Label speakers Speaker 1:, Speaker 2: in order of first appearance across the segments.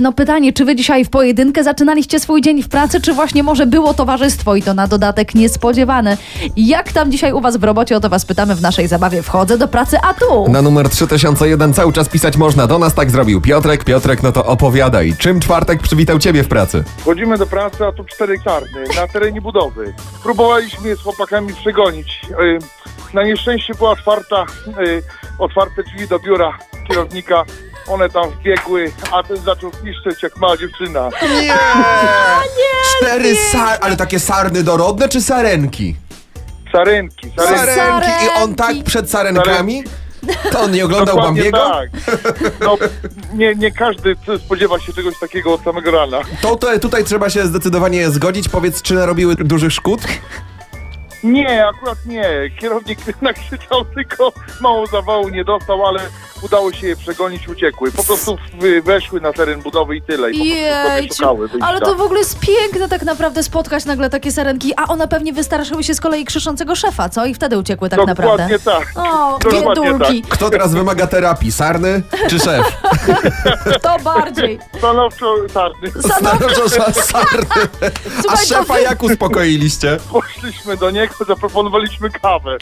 Speaker 1: No pytanie, czy wy dzisiaj w pojedynkę zaczynaliście swój dzień w pracy, czy właśnie może było towarzystwo i to na dodatek niespodziewane? Jak tam dzisiaj u was w robocie, o to was pytamy w naszej zabawie. Wchodzę do pracy, a tu...
Speaker 2: No.
Speaker 3: Na numer 3001 cały czas pisać można. Do nas tak zrobił Piotrek. Piotrek, no to opowiadaj. Czym czwartek przywitał ciebie w pracy?
Speaker 2: Chodzimy do pracy, a tu cztery karny na terenie budowy. Próbowaliśmy je z chłopakami przegonić. Yy, Na nieszczęście była otwarta, yy, otwarte drzwi do biura kierownika. One tam wbiegły, a ten zaczął piszczeć jak mała dziewczyna.
Speaker 3: Nie! Cztery sar... Ale takie sarny dorodne czy sarenki?
Speaker 2: Sarenki, sarenki.
Speaker 1: Sarenki.
Speaker 3: I on tak przed sarenkami? To on nie oglądał
Speaker 2: Dokładnie
Speaker 3: Bambiego?
Speaker 2: tak. No, nie, nie każdy spodziewa się czegoś takiego od samego rana.
Speaker 3: To, to tutaj trzeba się zdecydowanie zgodzić. Powiedz, czy narobiły dużych szkód?
Speaker 2: Nie, akurat nie. Kierownik nakrzyczał, tylko mało zawału nie dostał, ale udało się je przegonić, uciekły. Po prostu w- weszły na teren budowy i tyle. I po prostu sobie
Speaker 1: Jejciu,
Speaker 2: szukały wyjścia.
Speaker 1: ale to w ogóle jest piękne tak naprawdę spotkać nagle takie sarenki, a one pewnie wystraszyły się z kolei krzyczącego szefa, co? I wtedy uciekły tak naprawdę.
Speaker 2: Dokładnie tak.
Speaker 1: O,
Speaker 2: Dokładnie
Speaker 1: biedulki,
Speaker 3: Kto teraz wymaga terapii? Sarny czy szef?
Speaker 2: tak.
Speaker 1: to bardziej.
Speaker 2: Stanowczo czarny.
Speaker 1: Stanowczo.
Speaker 3: Stanowczo że sarny. A
Speaker 1: Słuchaj, to
Speaker 3: szefa
Speaker 1: wy-
Speaker 3: jak uspokoiliście?
Speaker 2: Poszliśmy do niego, zaproponowaliśmy kawę.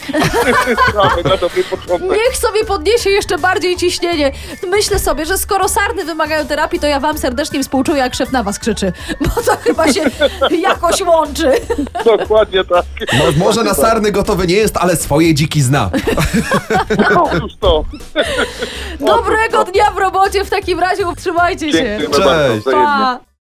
Speaker 2: kawę na dobry początek.
Speaker 1: Niech sobie podniesie jeszcze bardziej ciśnienie. Myślę sobie, że skoro sarny wymagają terapii, to ja wam serdecznie współczuję, jak szef na was krzyczy. Bo to chyba się jakoś łączy.
Speaker 2: Dokładnie tak.
Speaker 3: Mo- No, może na sarny gotowy nie jest, ale swoje dziki zna.
Speaker 2: Otóż to.
Speaker 1: Dobrego dnia w robocie w takim razie, trzymajcie się.
Speaker 2: Dziękujemy bardzo.
Speaker 3: Cześć.
Speaker 2: wzajemnie.
Speaker 1: Pa!